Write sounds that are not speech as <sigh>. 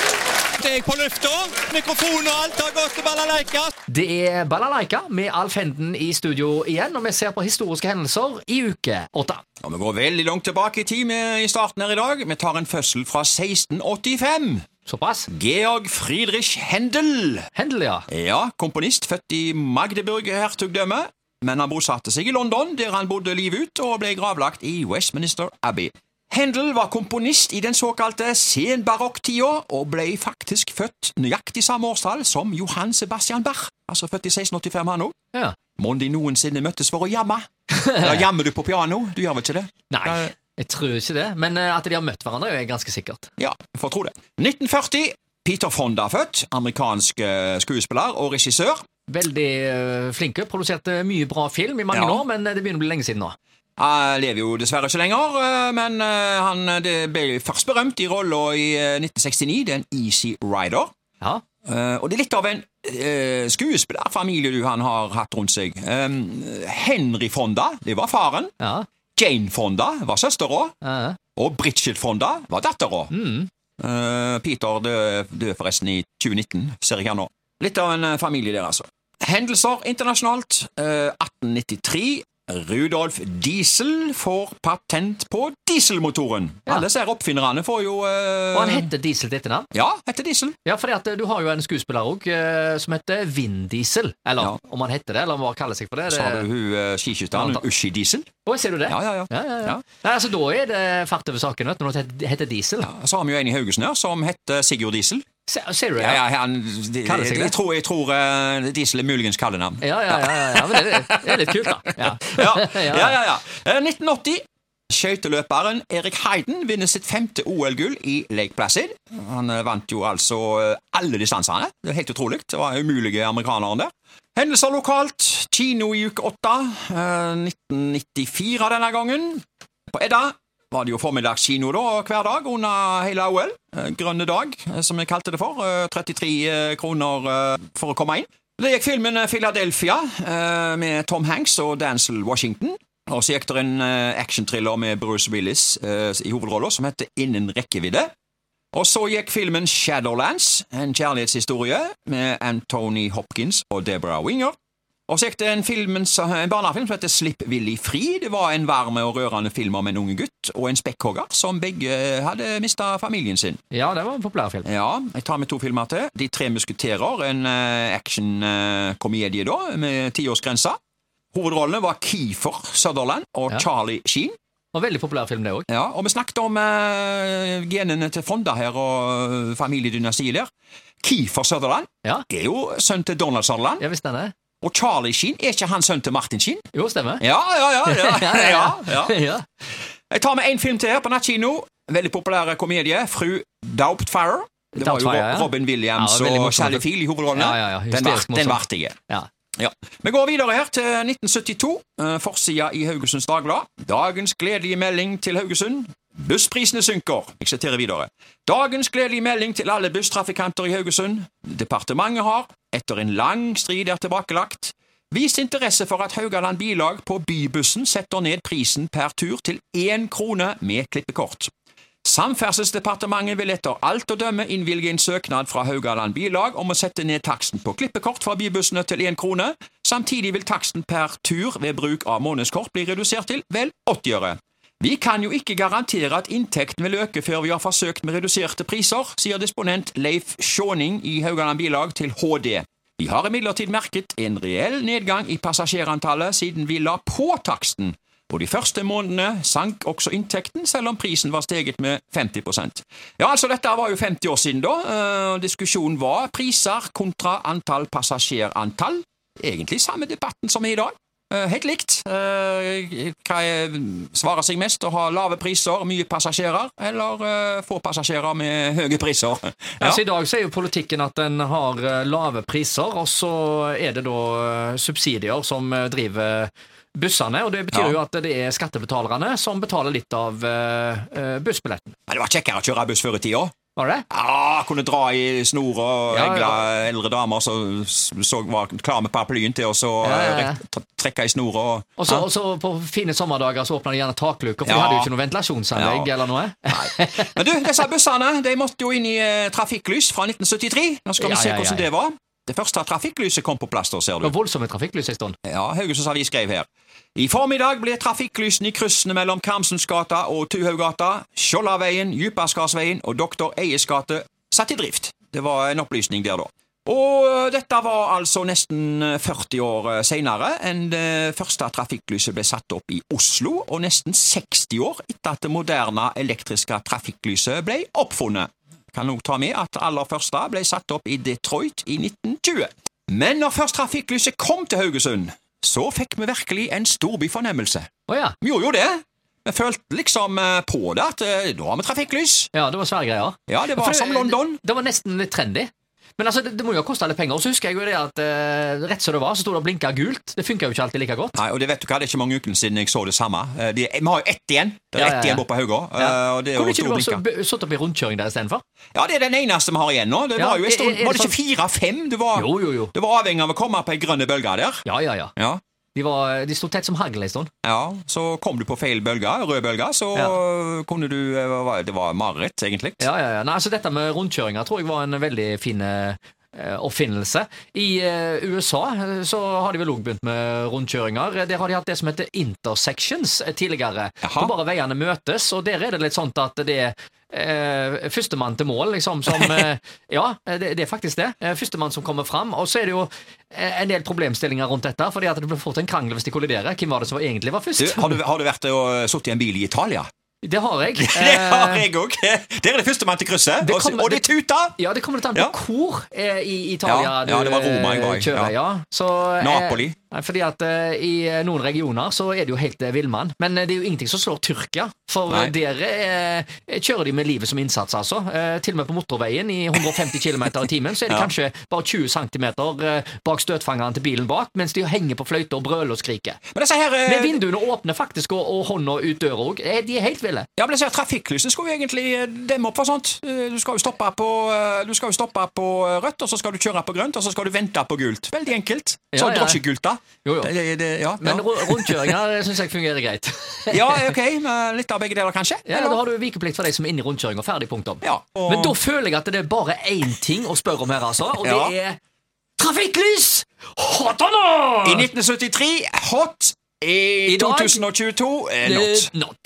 er jeg på lufta. Mikrofon og alt har gått til balalaika. Det er Balalaika med Alf Henden i studio igjen, og vi ser på historiske hendelser i uke åtte. Og vi går veldig langt tilbake i tid med- i starten her i dag. Vi tar en fødsel fra 1685. Såpass. Mm. Georg Friedrich Händel. Hendel, ja. Ja, komponist, født i Magdeburg hertugdømme. Men han bosatte seg i London, der han bodde livet ut, og ble gravlagt i Westminster Abbey. Händel var komponist i den såkalte senbarokktida, og ble faktisk født nøyaktig samme årstall som Johan Sebastian Bach. Altså født i 1685, han òg. ja. Mon de noensinne møttes for å jamme? Da jammer du på piano, du gjør vel ikke det? Nei, jeg tror ikke det. Men eh, at de har møtt hverandre, er ganske sikkert. Ja, får tro det. 1940. Peter Fonda født, amerikansk eh, skuespiller og regissør. Veldig eh, flinke. Produserte mye bra film i mange Ja. år, men eh, det begynner å bli lenge siden nå. Han lever jo dessverre ikke lenger, eh, men eh, han eh, det ble først berømt i rolla i eh, 1969, den Easy Rider. Ja. Eh, og det er litt av en eh, skuespillerfamilie du han har hatt rundt seg. Eh, Henry Fonda, det var faren. ja. Jane Fonda var søstera. ja. Og Bridget Fonda var dattera. Eh, Peter døde døde forresten i 2019, ser jeg her nå. Litt av en eh, familie der, altså. Hendelser internasjonalt. Eh, 1893. Rudolf Diesel får patent på dieselmotoren. Ja. Alle ser oppfinnerne får jo eh, Og han heter Diesel til etternavn. Ja, heter Diesel. Ja, fordi at eh, du har jo en skuespiller òg som heter Vin Diesel. Eller Ja. om han heter det, eller om han bare kaller seg for det. det... Sa du hun eh, skiskytteren? Ja, da- Ushi Diesel? Å, ser du det? Ja, ja, ja. Ja, ja, ja. Ja. Nei, altså, da er det fart over saken vet du, når det heter diesel. Så har vi jo en i Haugesund her som heter Sigurd Diesel. Ser, ser du det? Ja, ja, han, de, Kaller seg det? jeg tror, jeg tror eh, Diesel er muligens kallenavn. Ja, ja, ja, ja, ja, men det, er- det er litt kult, da. <laughs> Ja. <laughs> ja, ja, ja, ja. Eh, 1980. Skøyteløperen Erik Heiden vinner sitt femte OL-gull i Lake Placid. Han eh, vant jo altså eh, alle distansene. Det er helt utrolig. Det var umulige amerikanere der. Hendelser lokalt. Kino i uke 8. 1994 denne gangen. På Edda var det jo formiddagskino da, hver dag under hele OL. Eh, Grønne dag, eh, som jeg kalte det for. Eh, 33 eh, kroner eh, for å komme inn. Det gikk filmen eh, Philadelphia eh, med Tom Hanks og Dancel Washington. Og så gikk det en eh, actionthriller med Bruce Willis eh, i hovedrollen som heter Innen rekkevidde. Og så gikk filmen Shadowlands, en kjærlighetshistorie, med Anthony Hopkins og Deborah Winger. Og så gikk det en, film, en barnefilm som heter Slipp Willy fri. Det var en varm og rørende film om en unge gutt og en spekkhogger som begge hadde mista familien sin. Ja, det var en populær film. Ja, jeg tar med to filmer til. De tre musketerer, en eh, action-komedie da, med tiårsgrensa. Hovedrollene var Kiefer Sutherland og Ja. Charlie Sheen. Og veldig populær film, det òg. Ja, og vi snakket om eh, genene til Fonda her og eh, familiedynastiet der. Kiefer Sutherland Ja. er jo sønn til Donald Sutherland, Ja, visst den er. og Charlie Sheen er ikke han sønn til Martin Sheen? Jo, stemmer. Ja, ja, ja. <laughs> ja, ja, ja. ja. Jeg tar med en film til her på nattkino. Veldig populær eh, komedie. Fru Doubtfire. Det var jo Doubtfire, Rob- ja. Robin Williams Ja, veldig og morsom. Sally Field i hovedrollene. Ja, ja, ja. Hysterisk Den var- Den morsom. varte jeg. Ja. Ja. Vi går videre her til 1972. eh, Forsida i Haugesunds Dagblad. Dagens gledelige melding til Haugesund. Bussprisene synker. Jeg siterer videre. Dagens gledelige melding til alle busstrafikanter i Haugesund. Departementet har, etter en lang strid er tilbakelagt, vist interesse for at Haugaland Bilag på Bybussen setter ned prisen per tur til én krone med klippekort. Samferdselsdepartementet vil etter alt å dømme innvilge en søknad fra Haugaland Bilag om å sette ned taksten på klippekort fra bybussene til én krone. Samtidig vil taksten per tur ved bruk av månedskort bli redusert til vel 80 øre. Vi kan jo ikke garantere at inntekten vil øke før vi har forsøkt med reduserte priser, sier disponent Leif Sjåning i Haugaland Bilag til HD. Vi har imidlertid merket en reell nedgang i passasjerantallet siden vi la på taksten. På de første månedene sank også inntekten, selv om prisen var steget med 50 Ja, altså, dette var jo 50 år siden, da. eh, og Diskusjonen var priser kontra antall passasjerantall. Egentlig samme debatten som er i dag. Eh, Helt likt. Eh, Hva er- svarer seg mest? Å ha lave priser, mye passasjerer, eller eh, få passasjerer med høye priser? <laughs> Ja. Altså, I dag så er jo politikken at en har eh, lave priser, og så er det da eh, subsidier som eh, driver bussene. Og det betyr Ja. jo at det er skattebetalerne som betaler litt av eh, eh, bussbilletten. Men det var kjekkere å kjøre buss før i tida. Var det det? Ja, Ah, kunne dra i snora og Ja, ja. egla eldre damer som s- så var klare med paraplyen til, og så Ja, ja, ja. eh, rekt- t- trekke i snora. Og, Og så, og så på fine sommerdager så åpna de gjerne takluker, for de Ja. hadde jo ikke noe ventilasjonsanlegg Ja. eller noe. <laughs> Men du, disse bussene de måtte jo inn i eh, trafikklys fra 1973. Nå skal vi Ja, se ja, ja, hvordan ja. det var. Det første trafikklyset kom på plass, da, ser Det du. var voldsomme trafikklys en stund. Ja, Haugesunds Avis skrev her. I formiddag ble trafikklysene i kryssene mellom Karmsensgata og Tuhauggata, Skjoldaveien, Djupaskardsveien og Doktor Eies gate satt i drift. Det var en opplysning der, da. Og eh, dette var altså nesten eh, 40 år eh, senere enn det første trafikklyset ble satt opp i Oslo, og nesten 60 år etter at det moderne elektriske trafikklyset ble oppfunnet. Kan også ta med at det aller første ble satt opp i Detroit i 1920. Men når først trafikklyset kom til Haugesund, så fikk vi virkelig en storbyfornemmelse. Å ja. Vi gjorde jo det. Vi følte liksom eh, på det at eh, nå har vi trafikklys. ja. Det var svære greier. Ja, det For det- var som London. Det, det var nesten litt trendy. Men altså, det, det må jo ha kosta litt penger. Og så husker jeg jo det at eh, rett som det var, så sto det og blinka gult. Det funka jo ikke alltid like godt. Nei, og det vet du hva, det er ikke mange ukene siden jeg så det samme. Eh, de- Vi har jo ett igjen. Det er Ja, ett ja, ja. igjen borte på Haugå. eh, Ja. og det er jo Kunne ikke to du også blinker. b- satt opp i rundkjøring der istedenfor? Ja, det er den eneste vi har igjen nå. Det Ja, var jo en er- er stund det Var det sånn- ikke fire-fem? Du var, Jo, jo, jo. du var avhengig av å komme på ei grønne bølge der. Ja, ja, ja. Ja. De, var, de sto tett som hagl en stund. ja. Så kom du på feil bølge, rød bølge, så kunne du eh, hva var det? Det var mareritt, egentlig. Ja, ja, ja. Nei, altså dette med rundkjøringer tror jeg var en veldig fin eh, oppfinnelse. I eh, USA eh, så har de vel òg begynt med rundkjøringer. Der har de hatt det som heter intersections eh, tidligere. Jaha. Hvor bare veiene møtes, og der er det litt sånn at det er eh, førstemann til mål, liksom, <laughs> som eh, Ja, det, det er faktisk det. Eh, Førstemann som kommer fram. Og så er det jo eh, en del problemstillinger rundt dette, fordi at det blir fort en krangel hvis de kolliderer. Hvem var det som egentlig var Du, først? har, du, har du vært og sittet i en bil i Italia? Det har jeg. <laughs> Det har Eh, jeg òg! Der er det førstemann til krysset, Det og, så- kommer- og det tuter! Ja, det kommer litt an på Ja. hvor eh, i Italia Ja, du ja, det var Roma jeg var i, eh, kjører. ja. Ja. Så, eh, Napoli. nei, fordi at eh, i eh, noen regioner så er det jo helt eh, villmann. Men eh, det er jo ingenting som slår Tyrkia. For Nei. eh, der eh, kjører de med livet som innsats, altså. Eh, til og med på motorveien i 150 km i timen så er de <laughs> Ja. kanskje bare 20 cm eh, bak støtfangeren til bilen bak, mens de henger på fløyter og brøler og skriker. Men disse her eh, Men vinduene åpner faktisk, og, og hånda ut døra òg. De er helt ville. Ja, men jeg ser Trafikklysene skulle jo egentlig eh, demme opp for sånt. Eh, Du skal jo stoppe på, eh, du skal jo stoppe på eh, rødt, og så skal du kjøre på grønt, og så skal du vente på gult. Veldig enkelt. Så Ja, ja. drosjegult, da. Jo, jo. Det, det, det, ja, Men ja. ru- rundkjøringer syns jeg fungerer <laughs> greit. ja, ok. men Litt av begge deler, kanskje? Ja, Eller? Da har du vikeplikt for deg som er inne i rundkjøringa. Ferdig, punktum. Ja, og- Men da føler jeg at det er bare én ting å spørre om her, altså, og det Ja. er trafikklys! Hot or not? I 1973 hot. I, I dag? 2022 eh, not. Eh, not.